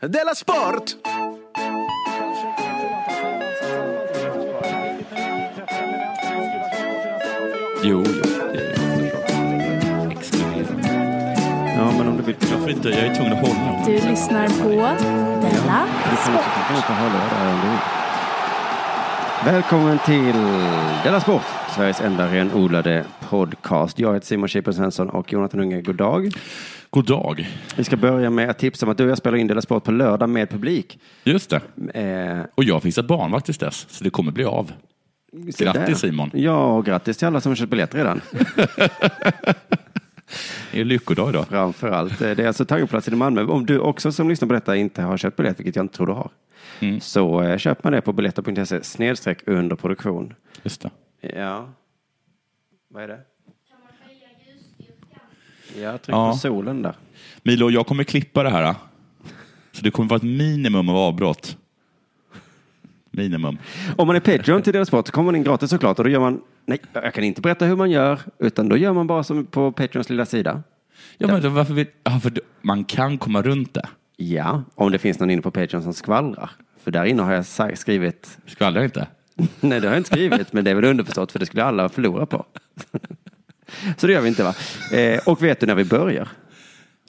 Della Sport! Jo, jo. det är exkluderande. Ja, men om du vill. Jag får inte, jag är tvungen att hålla. Du lyssnar på Della Sport. Välkommen till Della Sport, Sveriges enda renodlade podcast. Jag heter Simon Chippen Svensson och Jonathan Unge, god dag. God dag. Vi ska börja med att tipsa om att du och jag spelar in Della Sport på lördag med publik. Just det. Eh, Och jag har fixat barnvakt tills dess, så det kommer bli av. se Grattis, där. Simon. Ja, och grattis till alla som har köpt biljetter redan. Det är lyckodag idag. Framför allt. eh, Det är alltså taggplatsen i Malmö. Om du också som lyssnar på detta inte har köpt biljett, vilket jag inte tror du har, Mm. så eh, köp man det på biljetter.se snedstreck under produktion. Just det. Ja. Vad är det? Ja, tryck Ja. på solen där. Milo, jag kommer klippa det här. Så det kommer vara ett minimum av avbrott. Minimum. Om man är Patreon till deras sport så kommer man in gratis såklart och då gör man, nej, jag kan inte berätta hur man gör, utan då gör man bara som på Patreons lilla sida. Ja, men då, varför vill... ja, för då- man kan komma runt det. Ja, om det finns någon inne på Patreon som skvallrar. För där inne har jag sa- skrivit, Skvallra inte. nej det har jag inte skrivit, men det är väl underförstått för det skulle alla förlora på. Så det gör vi inte va? Eh, och vet du när vi börjar?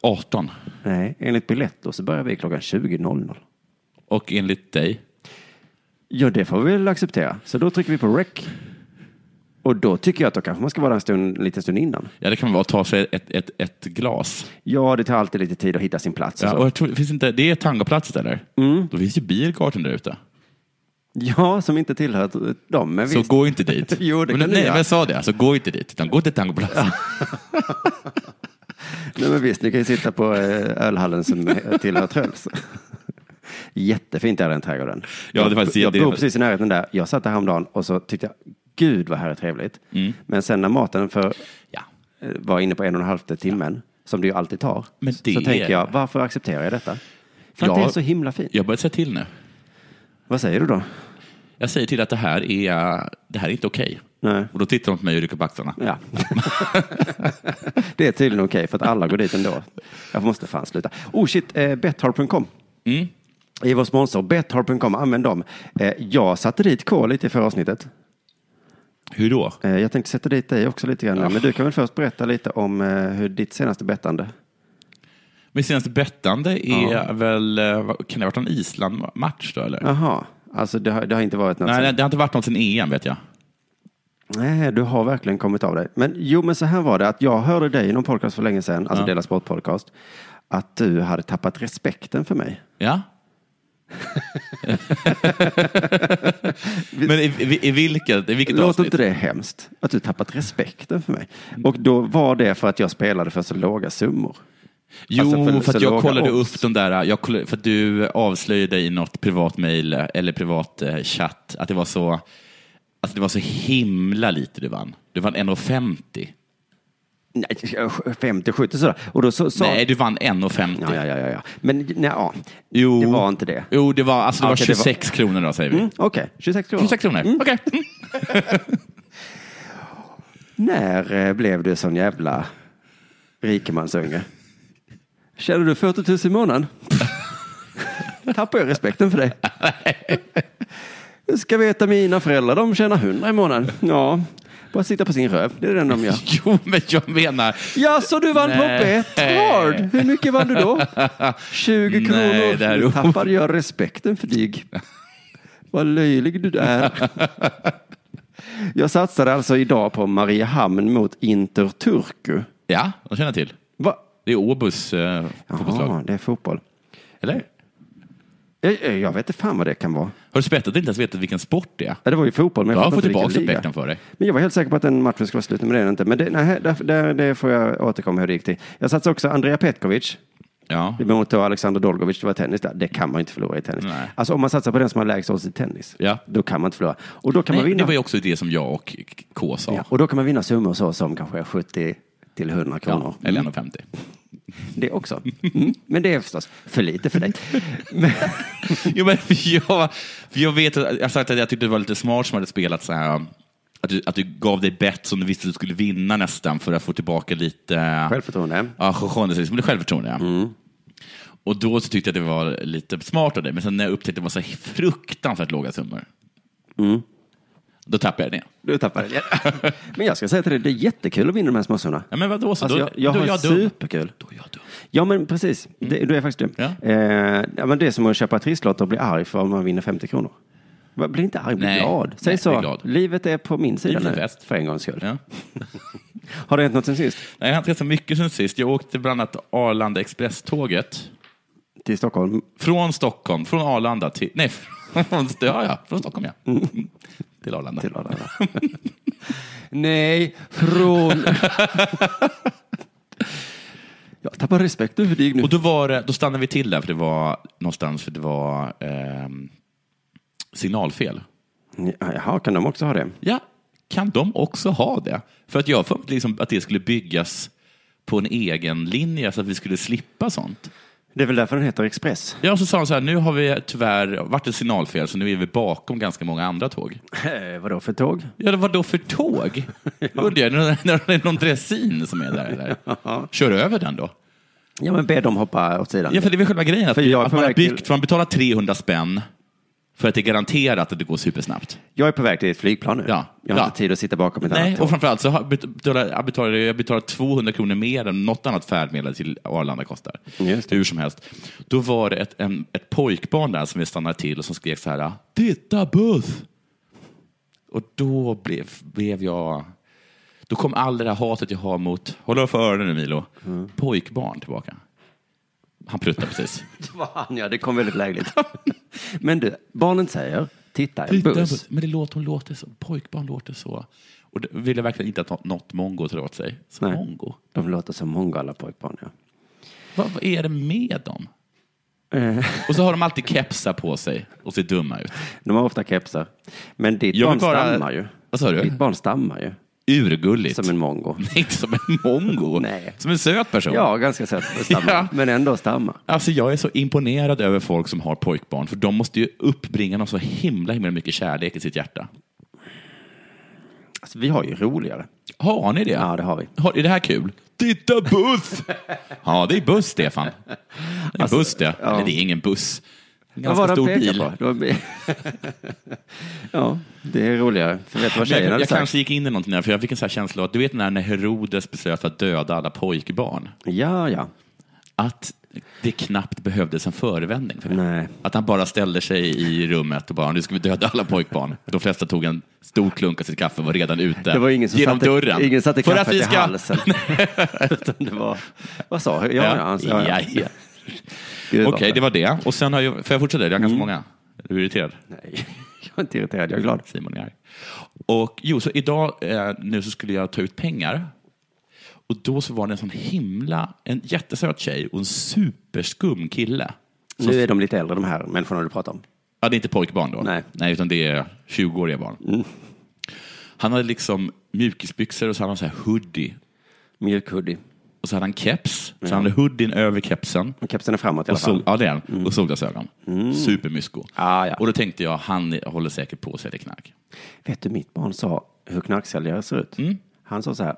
18. Nej, enligt Biletto så börjar vi klockan 20.00. Och enligt dig? Ja, det får vi väl acceptera. Så då trycker vi på rec. Och då tycker jag att då kanske man ska vara där en, stund, en liten stund innan. Ja, det kan vara att ta sig ett, ett, ett glas. Ja, det tar alltid lite tid att hitta sin plats. Och Ja, och så. jag tror, finns inte, det är tangoplatset, eller? Mm. Då finns ju beer garden där ute. ja, som inte tillhör dem. Men Så visst. gå inte dit. Jo, det men, kan du nej, göra. men jag sa det. Så gå inte dit, utan gå till tangoplatsen. Nej, men visst, ni kan ju sitta på eh, ölhallen som eh, tillhör Tröls. Jättefint är den trädgården. Ja, det är faktiskt jag, jag bor jättefint. precis i närheten där. Jag satt där häromdagen och så tyckte jag, gud vad här är trevligt. Mm. Men sen när maten för, Ja. eh, var inne på en och en halv timmen, som det ju alltid tar, Men det- så tänker jag, varför accepterar jag detta? För att Ja. det är så himla fint. Jag börjar säga till nu. Vad säger du då? Jag säger till att det här är, det här är inte okej. Nej. Och då tittar de på mig och rycker på axlarna. Ja. det är tydligen okej för att alla går dit ändå. Jag måste fan sluta. Oh shit, eh, Bethard.com. Mm. I vår sponsor Bethard.com, använd dem. Eh, jag satte dit K lite i förra avsnittet. Hur då? Eh, jag tänkte sätta dit dig också lite grann. Men du kan väl först berätta lite om eh, hur ditt senaste bettande. Mitt senaste bettande är väl, eh, vad- kan det ha varit en Island-match då eller? Jaha, alltså det har, det har inte varit något. Nej, sen- nej, det har inte varit något sen EM vet jag. Nej, du har verkligen kommit av dig. Men jo, men så här var det att jag hörde dig i någon podcast för länge sedan, alltså Dela Sport podcast, att du hade tappat respekten för mig. Ja? Men i, i, i vilket, i vilket Låter avsnitt? inte det hemskt? Att du tappat respekten för mig. Och då var det för att jag spelade för så låga summor. Jo, Alltså, för- för, så att jag låga kollade odds. upp de där, eh, jag kollade, för att du avslöjade i något privat mejl eller privat eh, chatt att det var så, alltså det var så himla lite du vann. Du vann 1,50. Nej, 50-70 sådär. Och då så, sa... Nej, du vann 1,50. Ja, ja, ja, ja, ja. Men nej, ja. Jo. Det var inte det. Jo, det var, alltså, det Ja, var okej, det var- 26 kronor då, säger vi. Mm, Okej, 26 kronor. Mm. 26 kronor, okej. När eh, blev du sån jävla rikemansunge? Tjänar du 40 000 i månaden? Tappar jag respekten för dig. Du ska veta mina föräldrar, de tjänar 100 i månaden. Ja, Bara sitta på sin röv. Det är det enda de gör. Jo, men jag menar... Ja, så du vann Nej. på Betthard? Hur mycket vann du då? 20 Nej, kronor. det här är nu o- tappar jag respekten för dig. Vad löjlig du är. Jag satsade alltså idag på Mariehamn mot Inter Turku. Ja, de känner jag till. Va? Det är Åbos eh, Jaha, fotbollslag. det är fotboll. Eller? Jag, jag jag vet inte fan vad det kan vara. Har du spettat att inte ens vetat vilken sport det är? Ja, Det var ju fotboll, men jag Jag fattar får inte vilken tillbaka liga. respekten för dig. Men jag var helt säker på att den matchen skulle vara slut, men det är den inte. Men det, nej, där, där, det får jag återkomma hur det gick till. Jag satsade också Andrea Petkovic. Ja. Mot då Alexander Dolgovic, det var tennis där. Det kan man inte förlora i tennis. Nej. Alltså om man satsar på den som har lägst odds i tennis, Ja. då kan man inte förlora. Och då kan man Nej, det vinna. var ju också det som jag och K sa. ja, och då kan man vinna summor så som kanske 70 till 100 kronor. Ja, eller 1,50. Det också. Mm. Men det är förstås för lite för dig. Men, Jo, men för jag, för jag vet att jag sagt att jag tyckte det var lite smart som hade spelat så här. Att du, att du gav dig bett som du visste att du skulle vinna nästan för att få tillbaka lite... Självförtroende. Ja, självförtroende. Liksom, lite självförtroende. ja. Mm. Och då så tyckte jag att det var lite smart av dig, men sen när jag upptäckte att det var så här fruktansvärt låga summor, Mm. då tappade jag det. nu tappar jag det. Men jag ska säga till dig, det är jättekul att vinna de här småsumman. Ja, men vadå, så Alltså, då, jag, jag då har är jag dum. superkul. Då är jag dum. Ja, men precis. Det, du är faktiskt dum. Mm. Ja. Eh, ja, men det är som att köpa trisslotter och bli arg för om man vinner 50 kronor. Va, Bli inte arg, bli Nej. glad. Säg Nej, bli så. glad. Livet är på min sida Livet är nu, bäst. för en gångs skull. Ja. Har det hänt något sen sist? Nej, jag har inte rest så mycket sen sist. Jag åkte bland annat Arlanda Express-tåget Till Stockholm? från Stockholm, från Arlanda till... Nej, från, ja, ja, från Stockholm ja. Till Arlanda. Till Arlanda. Nej, från... Jag tappar respekten för dig nu. Och då, var, det- då stannade vi till där, för det var någonstans, för det var ehm, signalfel. Jaha, kan de också ha det? Ja, kan de också ha det? För att jag har för mig liksom att det skulle byggas på en egen linje så att vi skulle slippa sånt. Det är väl därför den heter Express? Ja, och så sa de så här, nu har vi tyvärr varit ett signalfel så nu är vi bakom ganska många andra tåg. Eh, vadå för tåg? Ja, det var då för tåg? Undrar jag, när, när det är någon dressin som är där eller? Kör över den då. Ja, men be dem hoppa åt sidan. Ja, för det är väl själva grejen, att, För jag är att på man har väg till- byggt, för man betalar 300 spänn för att det är garanterat att det går supersnabbt. Jag är på väg till ett flygplan nu. Ja. Jag har Ja. inte tid att sitta bakom ett Nej, annat tåg. och framförallt så har- betalar jag betalar, jag betalar 200 kronor mer än något annat färdmedel till Arlanda kostar. Just det. Hur som helst. Då var det ett, en, ett pojkbarn där som vi stannade till och som skrek så här, titta buss! Och då blev, blev jag, då kom all det där hatet jag har mot, håll dig för öronen nu Milo, Mm. pojkbarn tillbaka. Han pruttade precis. Fan, ja, det kom väldigt lägligt. Men du, barnen säger, titta, en Titta, buss. Men det låter, hon låter så, pojkbarn låter så. Och det vill jag verkligen inte att nå- något mongo tar åt sig. Så Nej. mongo. De låter som många alla pojkbarn, ja. Vad, vad är det med dem? Eh. Och så har de alltid kepsar på sig och ser dumma ut. De har ofta kepsar. Men ditt Jag barn vill bara- stammar ju. Vad sa du? Ditt barn stammar ju, Urgulligt. som en mongo. Inte som en mongo. Nej. Som en söt person. Ja, ganska söt. att stamma, Ja. Men ändå stammar. Alltså jag är så imponerad över folk som har pojkbarn, för de måste ju uppbringa någon så himla, himla mycket kärlek i sitt hjärta. Alltså, vi har ju roligare. Har ni det? Ja, det har vi. Har, är det här kul? Titta buss! ja, det är buss, Stefan. Det är en buss det. Eller det är ingen buss. En Alltså, Vad ganska var det stor han pekade bil. på? Det var bi- ja, det är roligare. För vet du vad Men tjejerna jag hade jag sagt? kanske gick in i någonting där, för jag fick en sån här känsla av att du vet när, när Herodes beslöt att döda alla pojkbarn, Ja, ja. att det knappt behövdes en förevändning för det. Nej. Att han bara ställde sig i rummet och bara, nu ska vi döda alla pojkbarn. De flesta tog en stor klunk av sitt kaffe och var redan ute Det var ingen som genom satte, dörren. Ingen satte För att kaffet vi i ska- halsen. Utan det var, vad sa jag? Ja, ja, Ja, alltså, ja, ja, ja. ja. Gud, Okej, vad- Mm. det var det. Och sen har jag, får jag fortsätta? Det är ganska många. Är du irriterad? Nej, jag är inte irriterad, jag är glad. Simon är arg. Och jo, så idag eh, nu så skulle jag ta ut pengar. Och då så var det en sån himla, en jättesöt tjej och en superskum kille. Nu är de lite äldre, de här människorna du pratar om. Ja, det är inte pojkbarn då. Nej. Mm. utan det är 20-åriga barn. Han hade liksom mjukisbyxor och så hade han så här hoodie. Mjukhoodie. Och så hade han keps. Så han hade hoodien över kepsen. Och Kepsen är framåt i alla Och sol, fall. Mm. ja, det är han. Och solglasögon. Supermysko. Ah, ja. Och då tänkte jag, han håller säkert på sig lite knack. Vet du, mitt barn sa hur knarksäljare ser ut. Mm. Han sa så här,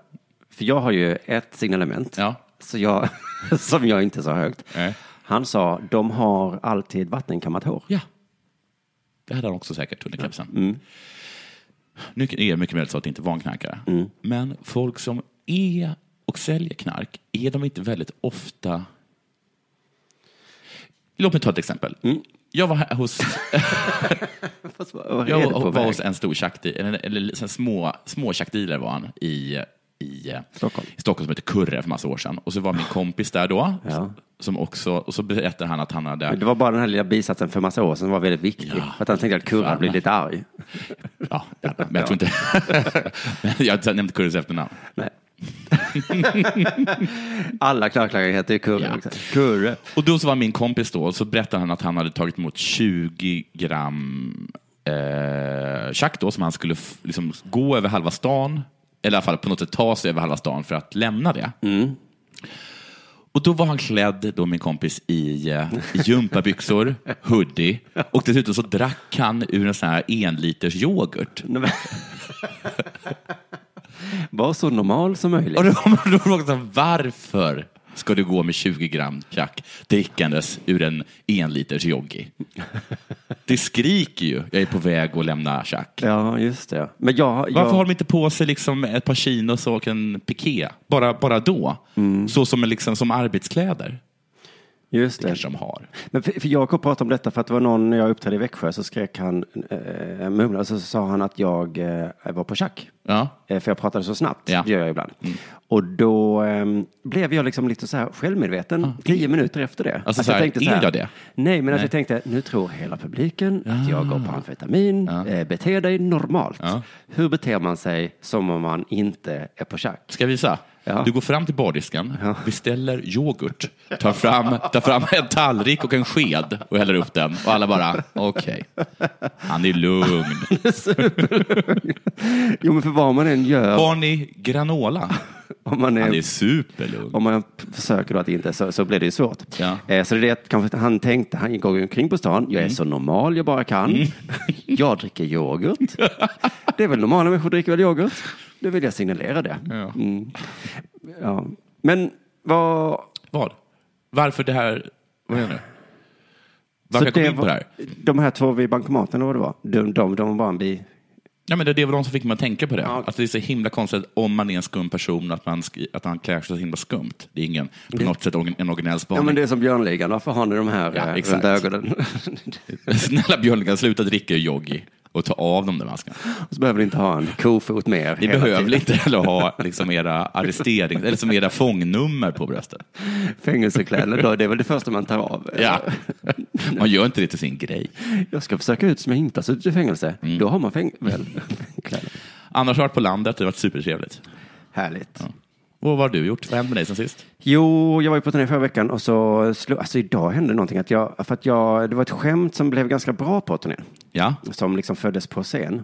för jag har ju ett signalement Ja. så jag, som jag inte sa högt. Nej. Han sa, de har alltid vattenkammat hår. Mm. Ja. Det hade han också säkert under kepsen. Nu är det mycket möjligt så att det inte var en knarkare. Mm. Men folk som är och säljer knark, är de inte väldigt ofta... Låt mig ta ett exempel. Mm. Jag var här hos, Fast vad- vad är jag det på var väg? hos en stor shakti, eller, eller en små, små shaktiler var han i, i Stockholm. i Stockholm som hette Kurre för massa år sedan. Och så var min kompis där då, Ja. som också, och så berättade han att han hade... Men Det var bara den här lilla bisatsen för massa år sedan som var väldigt viktig. Ja, för att han tänkte att kurran fan. alltså. blev lite arg. Ja, ja, men jag tror inte... Men jag nämnde Kurres efternamn. Nej. Alla knarklangare heter ju Kurre. Ja. också. Kurre. Och då så var min kompis då, och så berättade han att han hade tagit emot 20 gram eh, chack då, som han skulle f- liksom gå över halva stan, eller i alla fall på något sätt ta sig över halva stan för att lämna det. Och då var han klädd, då min kompis, i eh, i gympabyxor, hoodie och dessutom så drack han ur en sån här enliters yoghurt. Nej, men- Var så normal som möjligt. Och då kommer de fråga så här, varför ska du gå med 20 gram chack drickandes ur en enliters joggi? Det skriker ju, jag är på väg att lämna chack. Ja, just det. Men jag, jag, Varför har de inte på sig liksom ett par chinos och en piké? Bara, bara då? Mm. Så som, en liksom, som arbetskläder? just Det det. kanske de har. Men för, för Jakob pratade om detta för att det var någon, när jag uppträdde i Växjö så skrek han, eh, mumlade, och så sa han att jag eh, var på schack. Ja. Eh, För jag pratade så snabbt, Ja. Mm. det gör jag ibland. Och då ehm, blev jag liksom lite så här självmedveten tio minuter efter det. Ah. Alltså så här, är jag det? Nej, men att Nej. Ah. jag tänkte, nu tror hela publiken att jag går på amfetamin, eh, bete dig normalt. Ja. Hur beter man sig som om man inte är på schack? Ska jag visa? Ja. Du går fram till bardisken, Ja. beställer yoghurt, tar fram, tar fram en tallrik och en sked och häller upp den. Och alla bara, okej, han är lugn. Jo, men för vad man än gör, Har ni granola? om man Han är är, superlugn. om man p- försöker då att inte, så, så blir det ju svårt. Ja. Mm. Eh, Så det är det att kanske han tänkte, han går ju omkring på stan, jag är så normal jag bara kan. Jag dricker yoghurt. Det är väl normala människor dricker väl yoghurt. Nu vill jag signalera det. Ja. Mm. Ja. Men vad... Vad? Varför det här? Vad menar du? Varför så jag kom det in på det här? var- De här två vid bankomaten, eller vad det var, de, de, de var bara en bi... Ja, men det, det var de som fick mig att tänka på det. Att det är så himla konstigt om man är en skum person att man, skri- att man klär sig så himla skumt. Det är ingen, på något sätt orgi- en originell Ja, spaning. men det är som Björnligan, varför har ni de här Ja, eh, runt exakt. ögonen? Snälla Björnligan, sluta dricka ur joggi och ta av dem den masken. Och så behöver ni inte ha en kofot med er. Ni hela behöver tiden. inte heller ha liksom era arrestering eller som era fångnummer på bröstet. Fängelsekläder, då, det är väl det första man tar av. Ja. Man gör inte det till sin grej. Jag ska försöka ut som jag inte har suttit i fängelse. Då har man fäng- väl fängkläder. Annars har jag varit på landet, det har varit supertrevligt. Härligt. Och vad har du gjort? Vad har hänt med dig sen sist? Jo, jag var ju på turné förra veckan och så slog, alltså idag hände någonting att jag, för att jag, det var ett skämt som blev ganska bra på turnén. Ja, Som liksom föddes på scen.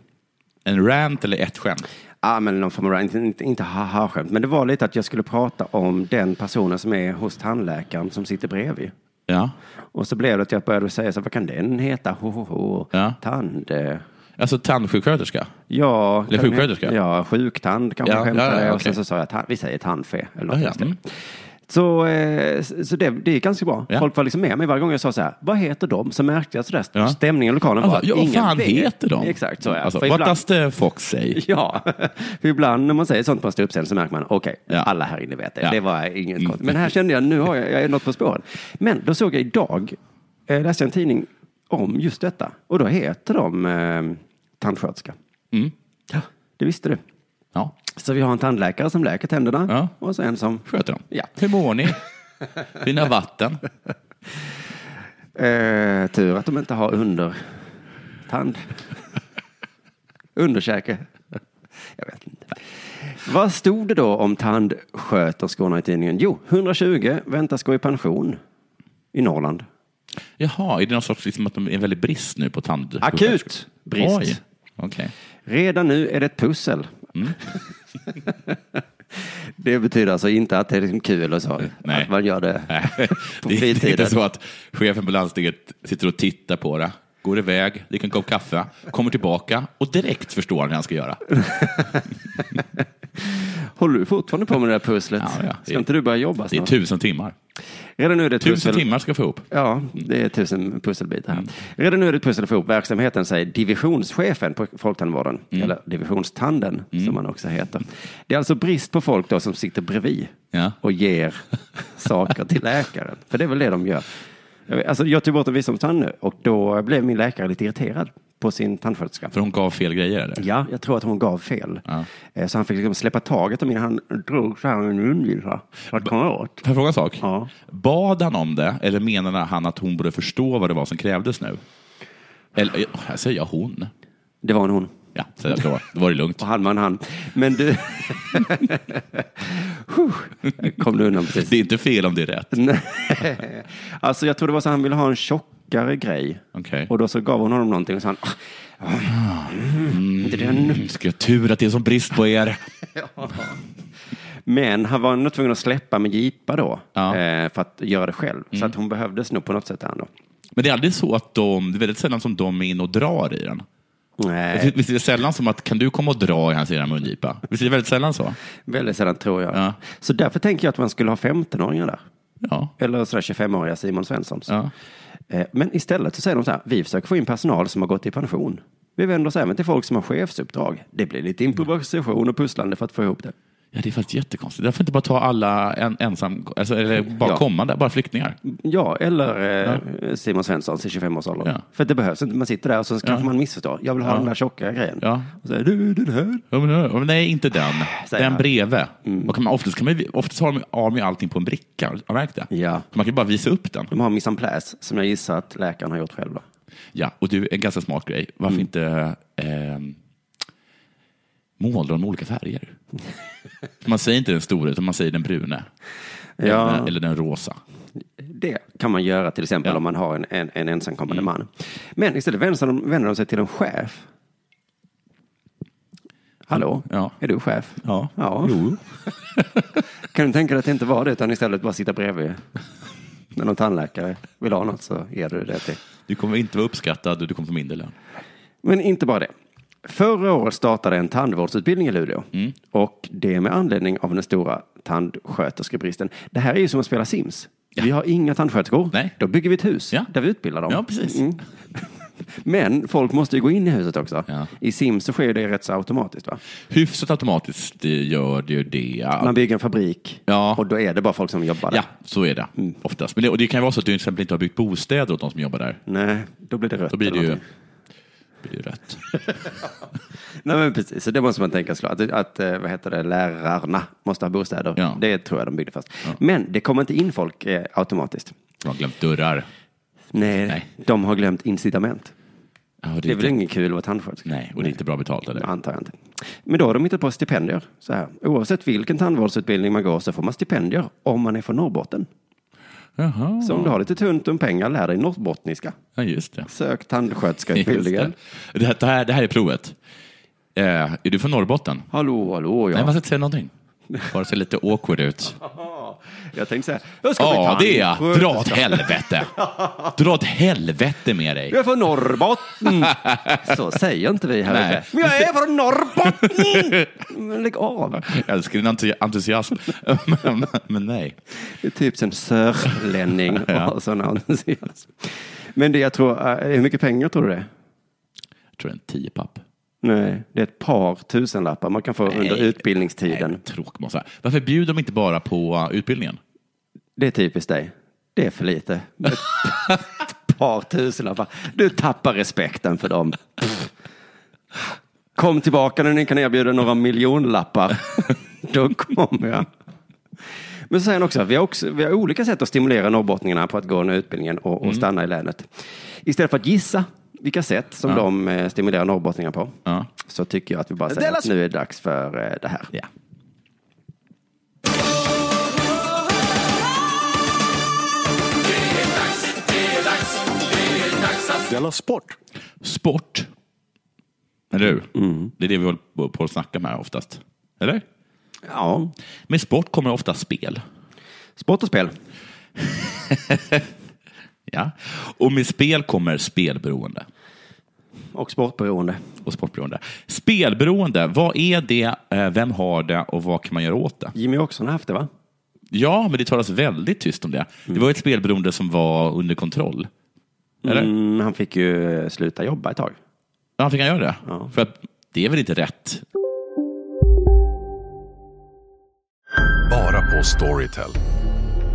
en rant eller ett skämt? Ja, men någon form av, inte, inte, inte haha-skämt, men det var lite att jag skulle prata om den personen som är hos tandläkaren som sitter bredvid. Ja. Och så blev det att jag började säga så, här, vad kan den heta? Ho, ho, ho. Ja. Tand. eh, Alltså tandsjuksköterska? Ja, Eller kan det- sjuksköterska? Ja, sjuktand kanske Ja, jag skämtade. ja, ja, Och sen okej. så sa jag, tan- vi säger tandfe. Eller något Ja, ja, just det. mm. Så, eh, s- så det, det gick ganska bra. Ja. Folk var liksom med mig varje gång jag sa så här, vad heter de? Så märkte jag sådär, Ja. stämningen i lokalen var Alltså, att ja, vad ingen fan vet. heter de? Exakt, så ja. Alltså, För what ibland- does the fox say? Ja, för ibland när man säger sånt på en ståuppscen så märker man, okej, Ja. alla här inne vet det. Ja. Det var inget Mm. konstigt. Men här kände jag, nu har jag, jag är något på spåren. Men då såg jag idag, eh, läste jag en tidning om just detta. Och då heter de eh, tandsköterska. Mm. Ja, det visste du. Ja, Så vi har en tandläkare som läker tänderna Ja. och så en som... sköter de. Ja. Hur mår ni? Vill ni ha vatten? Eh, tur att de inte har under... Tand. Underkäke. Jag vet inte. Vad stod det då om tandsköterskorna i tidningen? Jo, 120 väntas gå i pension i Norrland. Jaha, är det någon sorts, liksom att de är väldigt brist nu på tand? Akut brist. Oj, okej. Redan nu är det ett pussel. Mm. det betyder alltså inte att det är liksom kul och så. Nej. Att man gör det Nej, på Det är fritiden. inte så att chefen på landstinget sitter och tittar på det, går iväg, dricker en kopp kaffe, kommer tillbaka och direkt förstår han hur han ska göra. Håller du fortfarande på med det där pusslet? Ja, ja. Ska inte du börja jobba Det är snart? tusen timmar. Redan nu är det ett Tusen pussel. timmar ska jag få ihop. Ja, det är tusen pusselbitar. här. Redan nu är det ett pussel att få ihop verksamheten, säger divisionschefen på Folktandvården. Mm. Eller divisionstanden, som man också heter. Det är alltså brist på folk då som sitter bredvid Ja. och ger saker till läkaren. För det är väl det de gör. Jag vet- Alltså, jag tog bort en visdomstand nu och då blev min läkare lite irriterad på sin tandsköterska. För hon gav fel grejer eller? Ja, jag tror att hon gav fel. Ja. Eh, Så han fick liksom släppa taget om min hand drog så här med en mungipa för att komma åt. Får jag fråga en sak? Ja. Bad han om det eller menade han att hon borde förstå vad det var som krävdes nu? Eller, eh, här säger jag hon. Det var en hon. Ja, säger jag då. Då var det lugnt. Och han man han. Men du... Huh, kom du undan precis. Det är inte fel om det är rätt. Nej. alltså jag tror det var så han ville ha en tjockare grej. Okej. Och då så gav hon honom någonting och så han... Mm, inte den. Ska jag tur att det är som brist på er. Men han var ändå tvungen att släppa med Jeepa då. Ja. Mm. Eh, för att göra det själv. Så att hon behövdes nog på något sätt ändå. Men det är aldrig så att de, det är väldigt sällan som de är inne och drar i den. Nej, Visst är det sällan som att, kan du komma och dra i hans ena mungipa? Visst är det väldigt sällan så? väldigt sällan tror jag. Ja. Så därför tänker jag att man skulle ha 15-åringar där. Ja. Eller sådär 25-åriga Simon Svenssons. Ja. Eh, Men istället så säger de så här, vi försöker få in personal som har gått i pension. Vi vänder oss även till folk som har chefsuppdrag. Det blir lite improvisation och pusslande för att få ihop det. ja, det är faktiskt jättekonstigt. Därför inte bara ta alla en, ensam, alltså, eller bara Ja. komma där, bara flyktingar. Ja, eller eh, Simon Svensson i 25-årsåldern. Ja. För att det behövs inte. Man sitter där och så kanske man missförstår. Jag vill ha den där tjocka grejen. Ja. Och så är du den här. Ja, men, ja, men nej, inte den. Äh, Säger Den han. Mm. bredvid. Och kan man, oftast, kan man, oftast har de av med allting på en bricka. Har du märkt det? Ja. Så Man kan ju bara visa upp den. De har mise en place som jag gissar att läkaren har gjort själv. Då. Ja, och du, en ganska smart grej. Mm. Varför inte eh, måla dem i olika färger? man säger inte den stora, utan man säger den brune. Ja. Eller, eller den rosa. Det kan man göra till exempel Ja. Mm. om man har en, en, en ensamkommande man. Men istället vänder de, vänder de sig till en chef. Hallå, Ja. är du chef? Ja. ja. Jo. Kan du tänka dig att det inte var det utan istället bara sitta bredvid? När någon tandläkare vill ha något så ger du det till. Du kommer inte vara uppskattad och du kommer få mindre lön. Men inte bara det. Förra året startade en tandvårdsutbildning i Luleå. Mm. Och det med anledning av den stora tandsköterskebristen. Det här är ju som att spela Sims. Vi har inga tandsköterskor. Nej. Då bygger vi ett hus Ja. där vi utbildar dem. Mm. Ja, precis. Men folk måste ju gå in i huset också. Ja. I Sims så sker det rätt så automatiskt. Va? Hyfsat automatiskt det gör det ju det. Man bygger en fabrik Ja. och Mm. då är det bara folk som jobbar där. Ja, så är det oftast. Men det, och det kan ju vara så att du till exempel inte har byggt bostäder åt de som jobbar där. Nej, då blir det rött. Då blir det eller ju, någonting. blir det ju rätt. Nej, men precis. Så det måste man tänka såklart. Att, att eh, vad heter det, lärarna måste ha bostäder. Ja. Det tror jag de byggde först. Men det kommer inte in folk eh, automatiskt. De har glömt dörrar. Nej, Nej. de har glömt incitament. Ja, och Det är väl inte- inget kul att vara tandsköterska? Nej, och det är inte bra betalt eller? Antar jag inte. Men då har de hittat på stipendier. Så här. Oavsett vilken tandvårdsutbildning man går så får man stipendier om man är från Norrbotten. Jaha, Så om du har lite tunt om pengar, lär dig norrbottniska. ja, just det. Sök Just det. tandsköterskeutbildningen. Det, här- det, här, det här är provet. Eh, är du från Norrbotten? Hallå, hallå, Nej, ja. man ska inte säga någonting. Bara se lite awkward ut. Jag tänkte säga, jag ska Ja, bli det är jag. Dra åt tandsköterska. helvete. Dra åt helvete med dig. Jag är från Norrbotten. Så säger inte vi här Nej. uppe. Men jag är från Norrbotten! Men lägg av. Jag älskar din entu- entusiasm. men, men nej. Det är typ en sörlänning Ja. och sån entusiasm. Men det jag tror, eh, hur mycket pengar tror du det är? Jag tror det är en tio papp. Nej, det är ett par tusenlappar man kan få under utbildningstiden. Nej, Tråkmånsar. Varför bjuder de inte bara på uh, utbildningen? Det är typiskt dig. Det är för lite. Ett par tusenlappar. Du tappar respekten för dem. Kom tillbaka när ni kan erbjuda några miljonlappar. Då kommer jag. Men så säger han också att vi har, också, vi har olika sätt att stimulera norrbottningarna på att gå den här utbildningen och, och stanna i länet. Istället för att gissa vilka sätt som de eh, stimulerar norrbottningar på Ja. så tycker jag att vi bara säger att nu är det dags för eh, det här. Ja. Sport. Eller hur? Det är det vi håller på att snacka med här oftast. Eller? Ja, Med sport kommer ofta spel. sport och spel. Ja. Och med spel kommer spelberoende Och sportberoende. och sportberoende. Spelberoende, vad är det, eh, vem har det och vad kan man göra åt det? Jimmy Åkesson har haft det va? Ja, men det talas väldigt tyst om det. Det var ett spelberoende som var under kontroll. Eller? Mm, han fick ju eh, sluta jobba ett tag. Ja, fick han göra det? Ja. För att det är väl inte rätt? Bara på Storytel.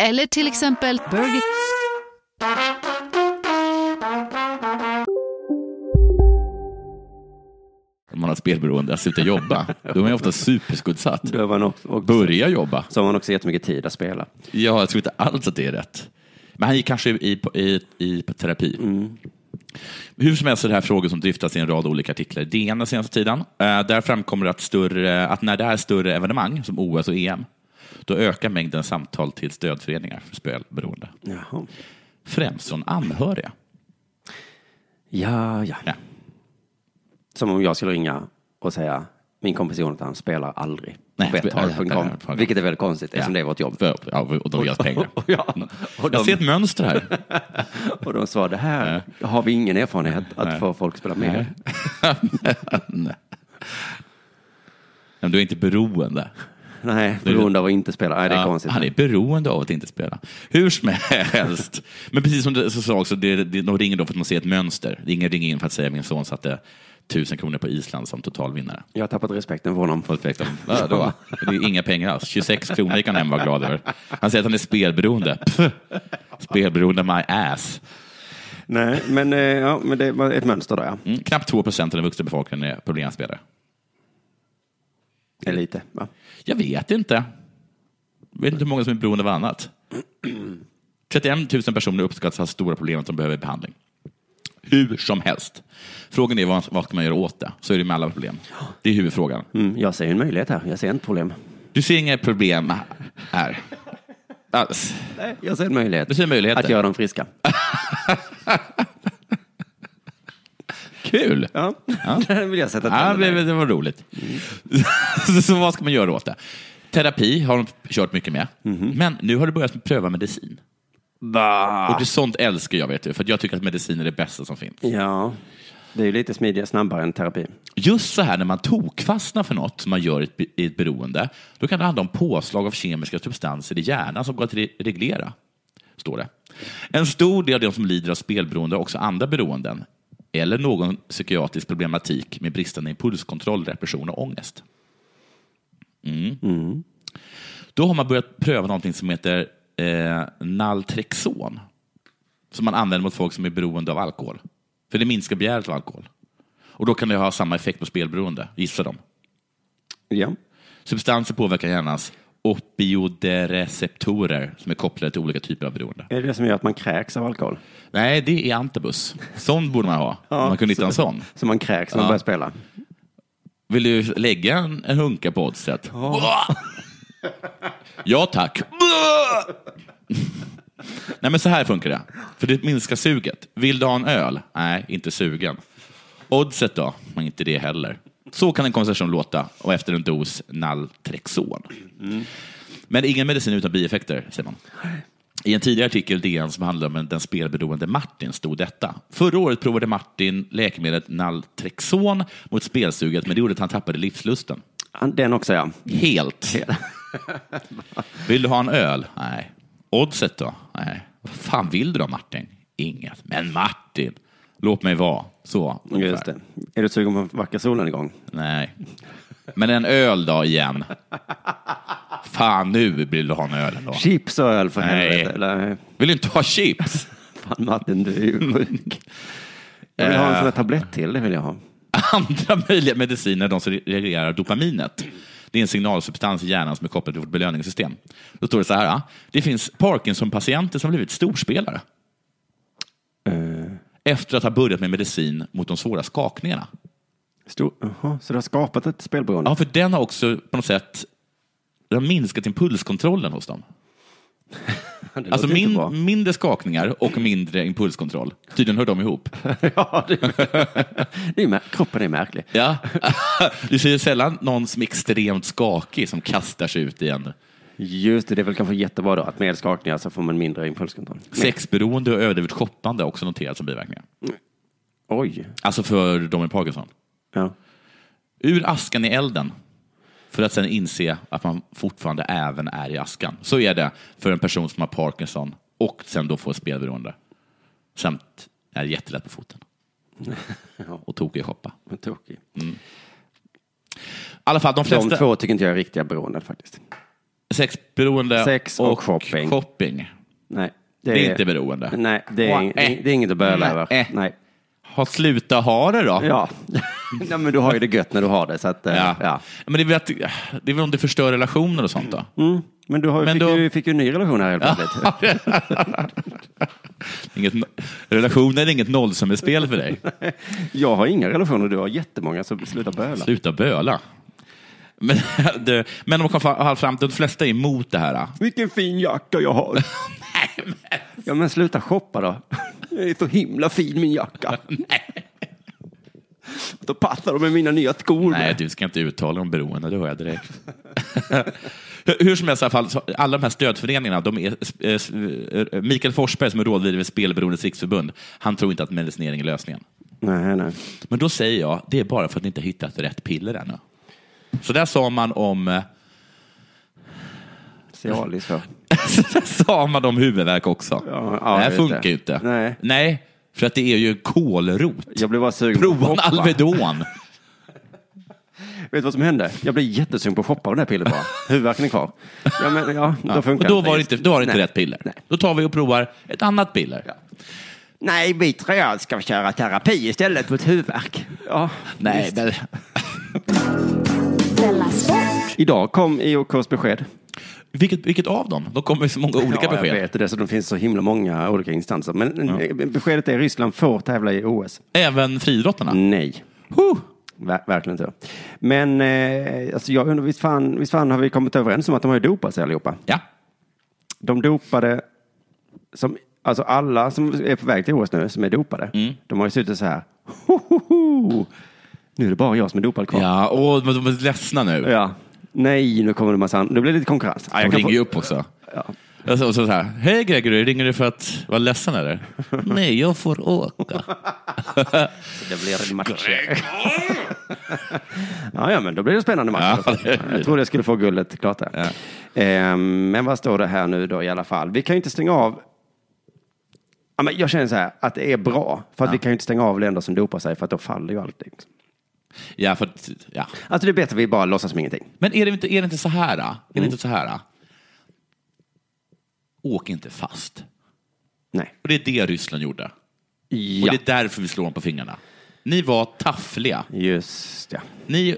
Eller till exempel Burger... Om man har ett spelberoende, att sluta jobba. Då är man ju ofta superskuldsatt. Då var han också, och, Börja jobba. så har han också jättemycket tid att spela. Ja, jag tror inte alls att det är rätt. Men han gick kanske i, i, i terapi. Mm. Hur som helst är det här frågor som dryftas i en rad olika artiklar i DN den senaste tiden. Eh, där framkommer det att, större, att när det är större evenemang, som OS och EM, då ökar mängden samtal till stödföreningar för spelberoende. Jaha. Främst från anhöriga. Ja, ja, Ja. Som om jag skulle ringa och säga min kompis Jonathan spelar aldrig. Nej, spelar aldrig Betthard.com. Betthard. Vilket är väldigt konstigt eftersom det är vårt jobb. För, ja, och de ger oss pengar. Mm. Ja, och de- Jag ser ett mönster här. Och de sa det här har vi ingen erfarenhet att få folk spela med. Nej. Men du är inte beroende. Nej, beroende av att inte spela. Nej, det är Ja, konstigt. Han är beroende av att inte spela. Hur som helst. Men precis som du sa också, det, det, de ringer då för att man ser ett mönster. Ingen ringer in för att säga min son satte tusen kronor på Island som totalvinnare. Jag har tappat respekten för honom. På ett spektrum. Ja, det, var, det är inga pengar alls. 26 kronor gick han hem och var glad över. Han säger att han är spelberoende. Pff. Spelberoende my ass. Nej, men, eh, ja, men det var ett mönster där, ja. Mm. Knappt 2 procent av den vuxna befolkningen är problemspelare. Mm. Det är lite. Va? Jag vet inte. Jag vet inte hur många som är beroende av annat. 31 000 personer uppskattas ha stora problem som behöver behandling. Hur som helst. Frågan är vad, vad ska man göra åt det? Så är det med alla problem. Det är huvudfrågan. Mm, jag ser ju en möjlighet här. Jag ser ett problem. Du ser inga problem här. Alls. Nej, jag ser en möjlighet. Du ser möjligheter. Att göra dem friska. Kul! Ja, där vill jag sätta Ja, tänderna i. det, det var roligt. Så, så vad ska man göra åt det? Terapi har de kört mycket med. Men nu har det börjat pröva medicin. Och det sånt älskar jag, vet du. För att jag tycker att medicin är det bästa som finns. Ja, det är ju lite smidigare, snabbare än terapi. Just så här när man tokfastnar för något som man gör i ett, be- i ett beroende, då kan det handla om påslag av kemiska substanser i hjärnan som går att re- reglera, står det. En stor del av de som lider av spelberoende har också andra beroenden eller någon psykiatrisk problematik med bristande impulskontroll, repression och ångest. Mm. Då har man börjat pröva någonting som heter eh, Naltrexon, som man använder mot folk som är beroende av alkohol. För det minskar begäret av alkohol. Och då kan det ha samma effekt på spelberoende, gissar de. Ja. Substanser påverkar hjärnans opioidreceptorer som är kopplade till olika typer av beroende. Är det det som gör att man kräks av alkohol? Nej, det är antabus. Sån borde man ha. Ja, man kunde hitta en så- sån. Så man kräks när man Ja. börjar spela? Vill du lägga en, en hunka på oddset? ja tack. Nej men så här funkar det. För det minskar suget. Vill du ha en öl? Nej, inte sugen. Oddset då? Men inte det heller. Så kan en konversation låta och efter en dos Naltrexon. Men ingen medicin utan bieffekter, säger man. I en tidigare artikel i DN som handlade om den spelberoende Martin stod detta. Förra året provade Martin läkemedlet Naltrexon mot spelsuget, men det gjorde att han tappade livslusten. Den också, ja. Helt. Vill du ha en öl? Nej. Oddset då? Nej. Vad fan vill du då, Martin? Inget. Men Martin, låt mig vara. Så. ungefär. Just det. Är du sugen på en vacker solnedgång? Nej. Men en öl då igen? Fan, nu vill du ha en öl ändå. Chips och öl för Nej. helvete. Eller, Vill du inte ha chips? fan Martin, du är ju sjuk. Jag vill ha en sån där tablett till, det vill jag ha. andra möjliga mediciner, de som reglerar dopaminet. Det är en signalsubstans i hjärnan som är kopplad till vårt belöningssystem. Då står det så här, ah, det finns Parkinson-patienter som har blivit storspelare. Eh. Efter att ha börjat med medicin mot de svåra skakningarna. Stor, aha, så du har skapat ett spelberoende? Ja, för den har också på något sätt den har minskat impulskontrollen hos dem. låter alltså inte min, bra. mindre skakningar och mindre impulskontroll. Tydligen hör de ihop. ja, det, det är, ju mär- kroppen är märklig. Ja. Du ser ju sällan någon som är extremt skakig som kastar sig ut i en Just det, det är väl kanske jättebra då att med skakningar så får man mindre impulskontroll. sexberoende och överdrivet shoppande har också noterats som biverkningar. Oj. Alltså för de med Parkinson. Ja. Ur askan i elden. För att sen inse att man fortfarande även är i askan. Så är det för en person som har Parkinson och sen då får spelberoende. Samt är jättelätt på foten. Och tokig i shoppa. Men tokig. I alla fall, de De flesta två tycker inte jag är riktiga beroenden faktiskt. sexberoende Sex och shopping. shopping. Nej. Det, är inte beroende. Nej, det är, Åh, eh. det är inget att böla Nej, över. eh. Nej. Ha, sluta ha det då. Ja. Nej, men du har ju det gött när du har det. Så att, eh, Ja. ja. Men det är, väl att, det är väl om det förstör relationer och sånt då? Mm. Men du har ju, Men fick, då- ju, fick ju en ny relation här helt plötsligt. Inget, relationer är inget nollsummespel för dig. Jag har inga relationer, du har jättemånga, så sluta böla. Sluta böla. Men, du, men de kom fram, fram till de flesta är emot det här. Vilken fin jacka jag har. Ja, men sluta shoppa då. Det är så himla fin min jacka. Då passar de med mina nya skor. Nej, du ska inte uttala dig om beroende, det hör jag direkt. Hur- Hur som helst, i alla, fall, så alla de här stödföreningarna, de är, eh, s- eh, Mikael Forsberg som är rådgivare vid Spelberoendes riksförbund, han tror inte att medicinering är lösningen. Nej, nej. Men då säger jag, det är bara för att ni inte har hittat rätt piller ännu. Så där sa man om eh, Cialis va? Så sa man om huvudvärk också. Ja, ja, det här just funkar det. ju inte. Nej. för att det är ju kålrot. Jag blev bara sugen på Prova en att shoppa. Alvedon. Vet du vad som hände? Jag blev jättesugen på att shoppa av den här pillret bara. Huvudvärken är kvar. Ja, men ja, då Och funkar då var det Just- inte, då har det inte nej. rätt piller. Nej. Då tar vi och provar ett annat piller. Nej, vi tror jag ska köra terapi istället mot huvudvärk. Ja, Nej, visst. men, Della Sport. Idag kom IOKs besked. vilket, vilket av dem? De kommer med så många olika ja, Jag besked. vet det, dessutom finns så himla många olika instanser. Men eh, beskedet är Ryssland får tävla i OS. Även friidrottarna? Nej, Huh. Ver verkligen inte. Men eh, alltså jag undrar, visst fan, visst fan har vi kommit överens om att de har ju dopat sig allihopa? Ja. De dopade, som, alltså alla som är på väg till OS nu, som är dopade, Mm. de har ju suttit så här. Ho, ho, ho. Nu är det bara jag som är dopad kvar. Ja, åh, de de är ledsna nu. Ja. Nej, nu kommer det massa andra. Nu blir det lite konkurrens. Ja, De jag kan ringer få- ju upp också. Och så, och så, så här, hej Gregory, ringer du för att vara ledsen eller? Nej, jag får åka. Det blir en match. ja, ja, men då blir det spännande match. Ja, det blir det. jag trodde jag skulle få guldet klart där. Ehm, men vad står det här nu då i alla fall? Vi kan ju inte stänga av. Ja, men jag känner så här att det är bra. För att vi kan ju inte stänga av länder som dopar sig för att då faller ju allting. Ja, för att, ja. Alltså det är bättre att vi bara låtsas som ingenting. Men är det inte, är det inte så här? Då? Är Mm. det inte så här? Då? Åk inte fast. Nej. Och det är det Ryssland gjorde. Ja, Och det är därför vi slår dem på fingrarna. Ni var taffliga. just ja. Ni,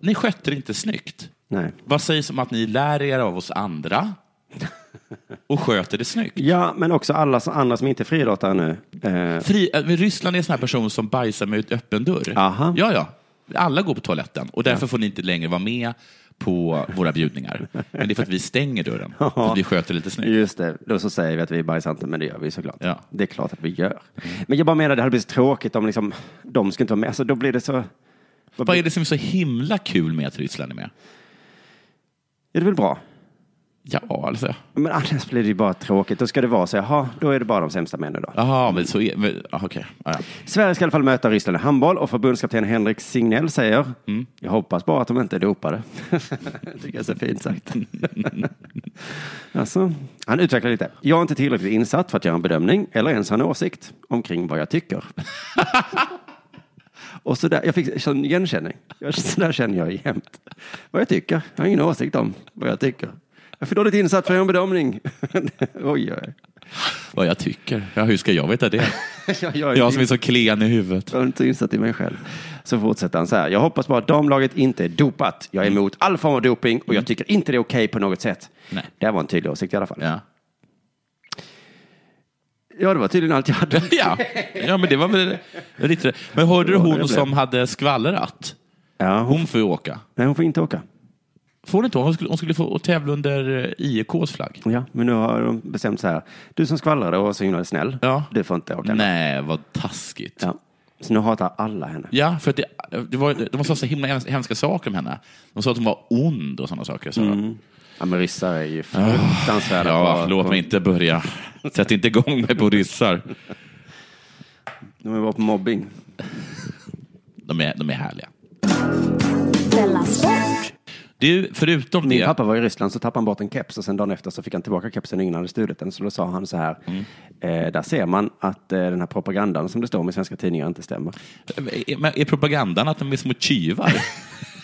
ni skötte det inte snyggt. Nej. Vad sägs om att ni lär er av oss andra och sköter det snyggt? Ja, men också alla som- andra som inte är friidrottare nu. Eh, Fri, äh, men Ryssland är en sån här person som bajsar med öppen dörr. Aha. Ja, ja. Alla går på toaletten och därför får ni inte längre vara med på våra bjudningar. Men det är för att vi stänger dörren. För att vi sköter lite snyggt. Just det, då så säger vi att vi är bajsanter, men det gör vi såklart. Ja. Det är klart att vi gör. Men jag bara menar, det hade blivit så tråkigt om liksom, de skulle inte vara med. Alltså, då blir det så... Vad Vad blir- är det som är så himla kul med att Ryssland är med? Är det väl bra? Ja, alltså. Men annars blir det ju bara tråkigt. Då ska det vara så, jaha, då är det bara de sämsta männen då. Jaha, men så är men, ah, okej. Ah, ja. Sverige ska i alla fall möta Ryssland i handboll och förbundskapten Henrik Signell säger, jag hoppas bara att de inte är dopade. Det tycker jag är så fint sagt. alltså, han utvecklar lite. Jag är inte tillräckligt insatt för att göra en bedömning eller ens ha en åsikt omkring vad jag tycker. och så där, jag fick sån igenkänning. Jag- Så där känner jag jämt. Vad jag tycker. Jag har ingen åsikt om vad jag tycker. Jag är för dåligt insatt för att göra en bedömning. oj, oj. Vad jag tycker. Ja, hur ska jag veta det? jag, Jag som är så klen i huvudet. Jag är inte insatt i mig själv. Så fortsätter han så här. Jag hoppas bara att damlaget inte är dopat. Jag är emot all form av doping och jag tycker inte det är okej på något sätt. Nej. Det var en tydlig åsikt i alla fall. Ja, det var tydligen allt jag hade. Ja, ja men det var väl lite Men hörde du Ja, det blev. hon som hade skvallrat? Ja, hon... får ju åka. Nej, hon får inte åka. Får hon inte? Hon skulle, hon skulle få tävla under eh, IOKs flagg. Ja, men nu har de bestämt så här. Du som skvallrade och var så himla snäll, du får inte åka. Nej, vad taskigt. Ja. Så nu hatar alla henne. Ja, för att det, eh, det var, de sa så himla hems- hemska saker om henne. De sa att hon var ond och sådana saker. Så. Mm. Ja, men ryssar är ju fruktansvärda. Ja, på- låt på- mig inte börja. Sätt inte igång mig på ryssar. De är bra på mobbing. De är, de är härliga. Della Sport. Du, förutom Min det. pappa var i Ryssland så tappade han bort en keps och sen dagen efter så fick han tillbaka kepsen och ingen hade stulit den. Så då sa han så här, Mm. eh, där ser man att eh, den här propagandan som det står om i svenska tidningar inte stämmer. Är, Eh, men är propagandan att de är små tjuvar?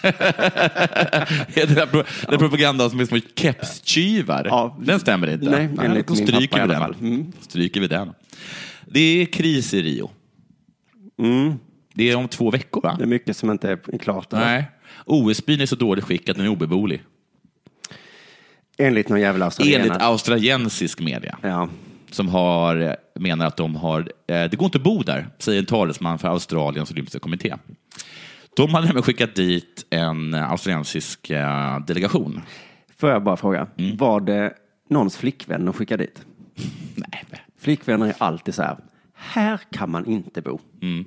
är det där pro, den propagandan som är små kepstjuvar? Den stämmer inte. Nej, enligt då min stryker pappa i vi alla den. fall. Mm. stryker vi den. Det är kris i Rio. Det är om två veckor, va? Mm. Det är mycket som inte är klart. där. Nej. OS-byn är så dålig skick att den är obeboelig. Enligt någon jävla australienare. Enligt australiensisk media. Som har, menar att de har, eh, det går inte att bo där, säger en talesman för Australiens olympiska kommitté. De hade nämligen skickat dit en australiensisk eh, delegation. Får jag bara fråga, Mm. var det någons flickvän de skickade dit? Nej. Flickvänner är alltid så här, här kan man inte bo. Mm.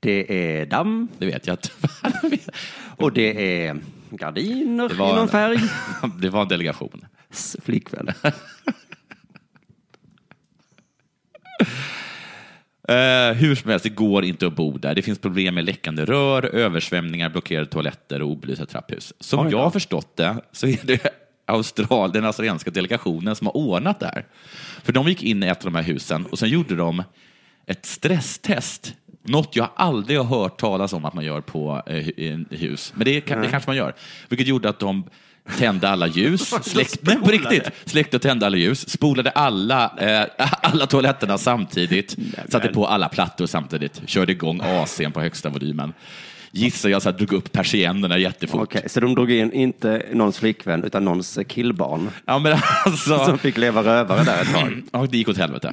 Det är damm. Det vet jag att Och det är gardiner det i någon färg. det var en delegation. S- Flickvän. Eh, hur som helst, det går inte att bo där. Det finns problem med läckande rör, översvämningar, blockerade toaletter och obelysta trapphus. Som jag har förstått det så är det Austral, den australienska delegationen som har ordnat det här. För de gick in i ett av de här husen och sen gjorde de ett stresstest. Något jag aldrig har hört talas om att man gör på eh, hu- i en hus. Men det, kan, det kanske man gör. Vilket gjorde att de tände alla ljus, släckte, nej, på riktigt, släckte och tände alla ljus, spolade alla, eh, alla toaletterna samtidigt, satte på alla plattor samtidigt, körde igång AC'n på högsta volymen. Gissar jag så här, drog upp persiennerna jättefort. Okej, så de drog in inte någons flickvän utan någons killbarn Ja, men alltså, som fick leva rövare där ett tag. ja, det gick åt helvete.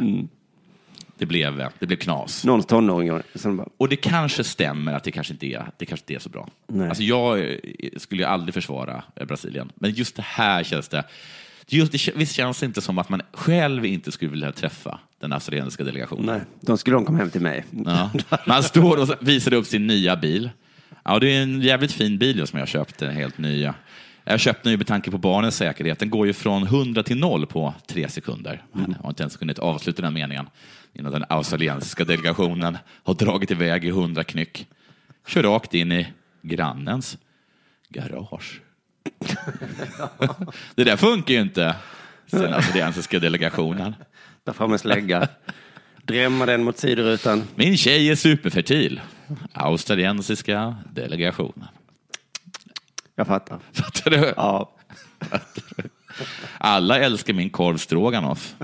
Det, blev, det blev knas. Någons tonåring. Som bara, Och det kanske stämmer att det kanske inte är, det kanske inte är så bra. Nej. Alltså jag eh, skulle ju aldrig försvara eh, Brasilien, men just det här känns det... Just det, visst känns det inte som att man själv inte skulle vilja träffa den australiensiska delegationen? nej, då skulle de komma hem till mig. Ja. Man står och visar upp sin nya bil. Ja, det är en jävligt fin bil som jag köpt, den helt nya. Jag köpte den ju med tanke på barnens säkerhet. Den går ju från 100 till 0 på tre sekunder. Jag har inte ens kunnat avsluta den meningen innan den australiensiska delegationen har dragit iväg i 100 knyck. Kör rakt in i grannens garage. det där funkar ju inte, sen den australiensiska delegationen. Där framme slägga. Drämma den mot sidorutan. Min tjej är superfertil. Australiensiska delegationen. Jag fattar. Fattar du? Ja. Alla älskar min korv stroganoff.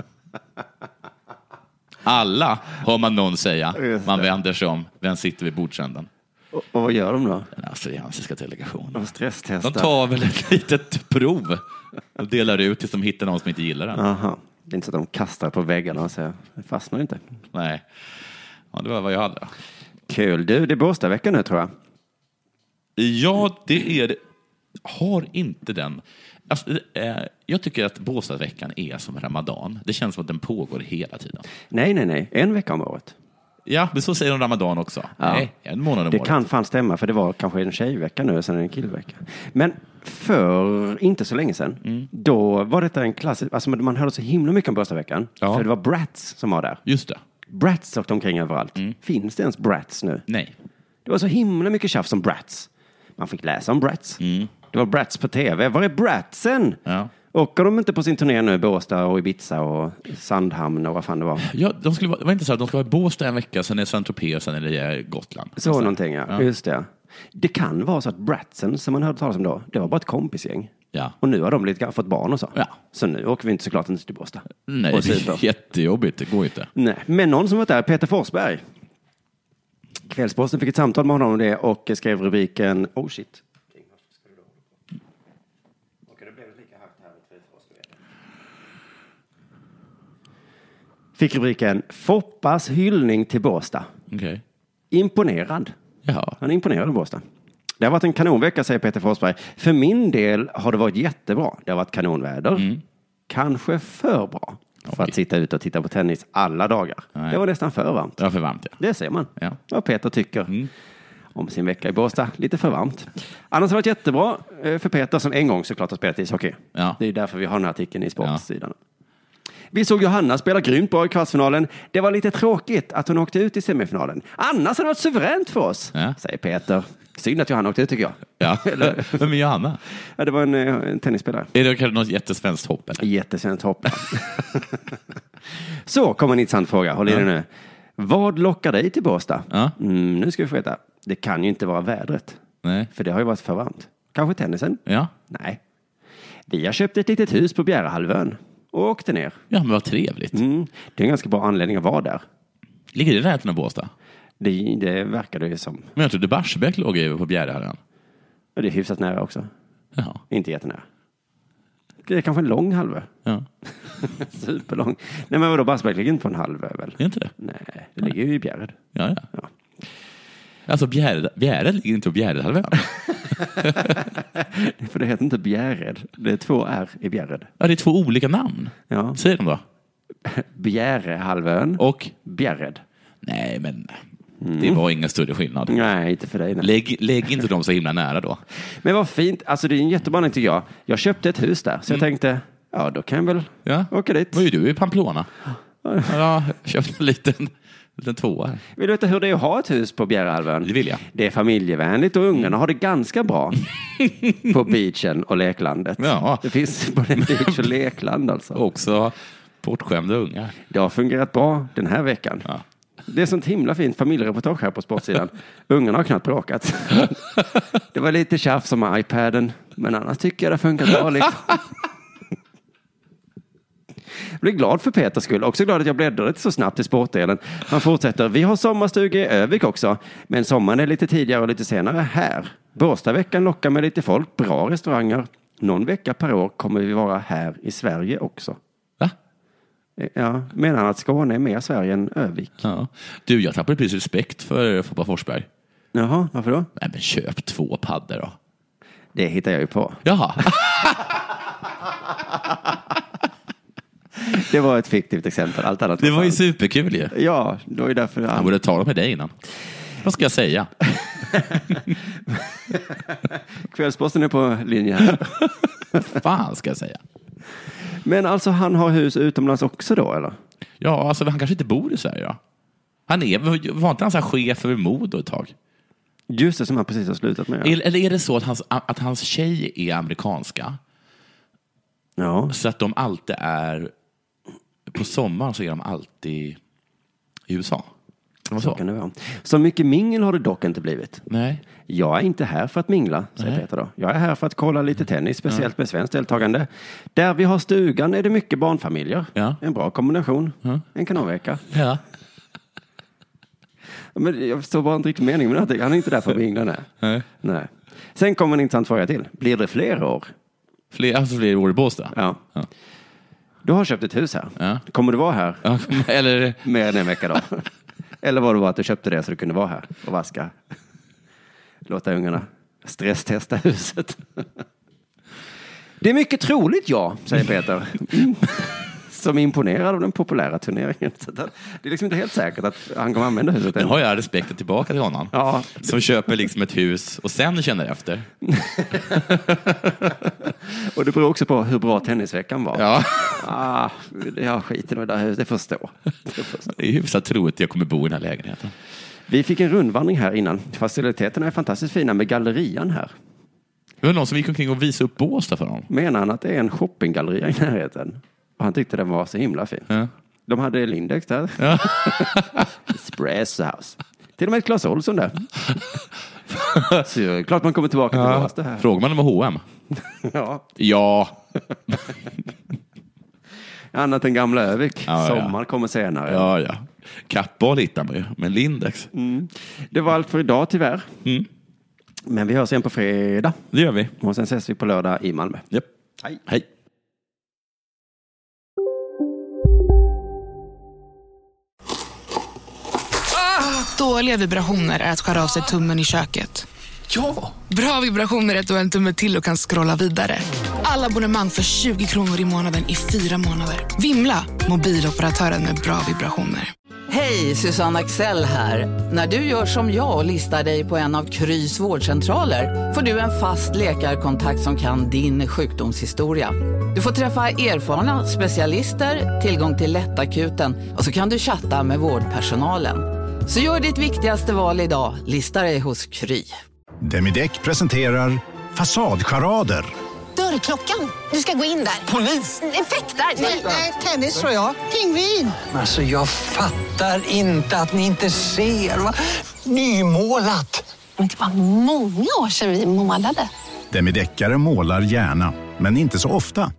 Alla, hör man någon säga. Just Man det. vänder sig om. Vem sitter vid bordsänden? Och, och vad gör de då? Den australiensiska delegationen. De stresstestar. De tar väl ett litet prov och delar ut tills de hittar någon som inte gillar den. Aha. Det är inte så att de kastar på väggarna och säger, det fastnar inte. Nej. Ja, det var vad jag hade. Kul. Du, det är Båstadveckan nu tror jag. Ja, det är det. Har inte den... Alltså, eh, jag tycker att Båstadveckan är som Ramadan. Det känns som att den pågår hela tiden. Nej, nej, nej. En vecka om året. Ja, men så säger de Ramadan också. Ja. Nej, en månad om Det året. kan fan stämma, för det var kanske en tjejvecka nu och sen en killvecka. Men för inte så länge sedan, Mm. då var detta en klassisk, alltså man hörde så himla mycket om Båstadveckan, Ja. för det var Brats som var där. Just det. Brats åkte omkring överallt. Mm. Finns det ens Brats nu? Nej. Det var så himla mycket tjafs om Brats. Man fick läsa om Brats. Det var Brats på tv. Var är Bratsen? Mm. Ja. Åker de inte på sin turné nu, Båstad och Ibiza och Sandhamn och vad fan det var? Ja, de skulle vara, det var inte så att de skulle vara i Båstad en vecka, sen är Saint Tropez och sen är det eh, Gotland. Så någonting, ja. Just det. Det kan vara så att Bratsen, som man hörde talas om då, det var bara ett kompisgäng. Ja. Och nu har de blivit, fått barn och så. Ja. Så nu åker vi inte såklart inte till Båstad. Nej, Och det super. är jättejobbigt. Det går inte. Nej, men någon som var där, Peter Forsberg. Kvällsposten fick ett samtal med honom om det och skrev rubriken Oh shit. Fick rubriken Foppas hyllning till Båstad. Okej. Imponerad. Ja. Han är imponerad av Båstad. Det har varit en kanonvecka, säger Peter Forsberg. För min del har det varit jättebra. Det har varit kanonväder. Kanske för bra för att sitta ute och titta på tennis alla dagar. Det var nästan för varmt. Det var för varmt, ja. Det ser man vad Peter tycker om sin vecka i Båstad. Lite för varmt. Annars har det varit jättebra eh, för Peter som en gång såklart har spelat ishockey. Det är därför vi har den här artikeln i sportsidan. Vi såg Johanna spela grymt bra i kvartsfinalen. Det var lite tråkigt att hon åkte ut i semifinalen. Annars hade det varit suveränt för oss, säger Peter. Synd att Johanna åkte ut tycker jag. Ja. Vem är Johanna? Ja, det var en, eh, en tennisspelare. Är det kanske något jättesvenskt hopp? Eller? Jättesvenskt hopp. Så kommer en intressant fråga. Håll i dig nu. Vad lockar dig till Båstad? Mm, nu ska vi få veta. Det kan ju inte vara vädret. Nej. För det har ju varit för varmt. Kanske tennisen? Ja. Nej. Vi har köpt ett litet hus på Bjärehalvön och åkte ner. Ja, men vad trevligt. Mm. Det är en ganska bra anledning att vara där. Ligger det i närheten av Båstad? Det, det verkar det ju som. Men jag trodde Barsebäck låg ju på Bjärehalvön. Ja, det är hyfsat nära också. Inte jättenära. Det är kanske en lång halvö. Ja. Superlång. Nej, men vadå, Barsebäck ligger inte på en halvö väl? Inte det? Nej, det ligger ju i Bjärred. Ja, ja. Alltså Bjärred, Bjärred ligger inte på Bjärehalvön. För det heter inte Bjärred. Det är två R i Bjärred. Ja, det är två olika namn. Ja. Säg dem då. Bjärehalvön och Bjärred. Nej, men det var ingen större skillnad. Nej, inte för dig. Nej. Lägg, lägg inte dem så himla nära då. Men vad fint. Alltså det är en jättebra anledning tycker jag. Jag köpte ett hus där, Mm. så jag tänkte, ja då kan jag väl Ja. åka dit. Vad är du i Pamplona? Ja, jag köpte en liten, liten tvåa. här. Vill du veta hur det är att ha ett hus på Bjärehalvön? Det vill jag. Det är familjevänligt och ungarna har det ganska bra på beachen och leklandet. Ja. Det finns både beach och lekland alltså. Också bortskämda ungar. Det har fungerat bra den här veckan. Det är sånt himla fint familjereportage här på sportsidan. Ungarna har knappt bråkat. Det var lite tjafs om iPaden, men annars tycker jag det har funkat bra. Liksom. Jag blir glad för Peters skull. Också glad att jag bläddrade inte så snabbt i sportdelen. Han fortsätter. Vi har sommarstuga i Övik också, men sommaren är lite tidigare och lite senare här. Båstadveckan lockar med lite folk, bra restauranger. Någon vecka per år kommer vi vara här i Sverige också. Ja, menar han att Skåne är mer Sverige än Övik? Ja. Du, jag tappade precis respekt för Foppa Forsberg. Jaha, varför då? Nej, men köp två paddor då. Det hittar jag ju på. Jaha. Det var ett fiktivt exempel. Allt annat Det var ju sant. superkul ju. Ja, det var ju därför Han han... borde tala med dig innan. Vad ska jag säga? Kvällsposten är på linje här. fan ska jag säga? Men alltså, han har hus utomlands också då, eller? Ja, alltså han kanske inte bor i Sverige då? Han är, var inte han så här chef över Modo ett tag? Just det, som han precis har slutat med. Eller- Eller är det så att hans, att hans tjej är amerikanska? Ja. Så att de alltid är... På sommaren så är de alltid i USA. Det var Så så. kan det vara. Så mycket mingel har det dock inte blivit. Nej. Jag är inte här för att mingla, säger Nej. Mm. Peter då. Jag är här för att kolla lite tennis, speciellt med svenskt deltagande. Där vi har stugan är det mycket barnfamiljer. Ja. En bra kombination. En kanonvecka. Ja. Men jag förstår bara inte riktigt meningen med det. här. Han är inte där för att mingla, nej. Nej. nej. Sen kommer en intressant fråga till. Blir det fler år? Fler, alltså fler år i Båstad? Ja. Ja. Du har köpt ett hus här. Ja. Kommer du vara här Ja, Eller mer än en vecka då? Eller var det bara att du köpte det så du kunde vara här och vaska? Låta ungarna stresstesta huset. Det är mycket troligt ja, säger Peter. Mm. Som är imponerad av den populära turneringen. Så att han- Det är liksom inte helt säkert att han kommer använda huset nu än. har jag respekten tillbaka till honom. Ja. Som köper liksom ett hus och sen känner efter. Och det beror också på hur bra tennisveckan var. Ja. Ah, jag skiter i det där huset, det får stå. Det får stå. Det är hyfsat troligt att jag kommer bo i den här lägenheten. Vi fick en rundvandring här innan. Faciliteterna är fantastiskt fina med gallerian här. Det var någon som gick omkring och visade upp Båstad för honom. Menar han att det är en shoppinggalleria i närheten? Och han tyckte den var så himla fin. Ja. De hade Lindex där. Espresso House. Till och med ett Clas Ohlson där. Så det är klart man kommer tillbaka till oss det här. Frågar man om H&M? Ja. Ja. Annat än gamla Övik. Ja, ja. Sommar kommer senare. Ja, ja. Kappahl hittar man ju, men Lindex. Mm. Mm. Det var allt för idag tyvärr. Men vi hörs igen på fredag. Det gör vi. Och sen ses vi på lördag i Malmö. Japp. Hej. Hej. Dåliga vibrationer är att skära av sig tummen i köket. Ja! Bra vibrationer är att du har en tumme till och kan scrolla vidare. Alla abonnemang för 20 kronor i månaden i fyra månader. Vimla! Mobiloperatören med bra vibrationer. Hej, Susanne Axel här. När du gör som jag och listar dig på en av Krys vårdcentraler får du en fast läkarkontakt som kan din sjukdomshistoria. Du får träffa erfarna specialister, tillgång till lättakuten och så kan du chatta med vårdpersonalen. Så gör ditt viktigaste val idag, listar dig hos Kry. Demideck presenterar Fasadcharader. Dörrklockan. Du ska gå in där. Polis? Effektar? Nej, tennis tror jag. Pingvin. Alltså jag fattar inte att ni inte ser. Va? Nymålat. Men det var många år sedan vi målade. Demideckare målar gärna, men inte så ofta.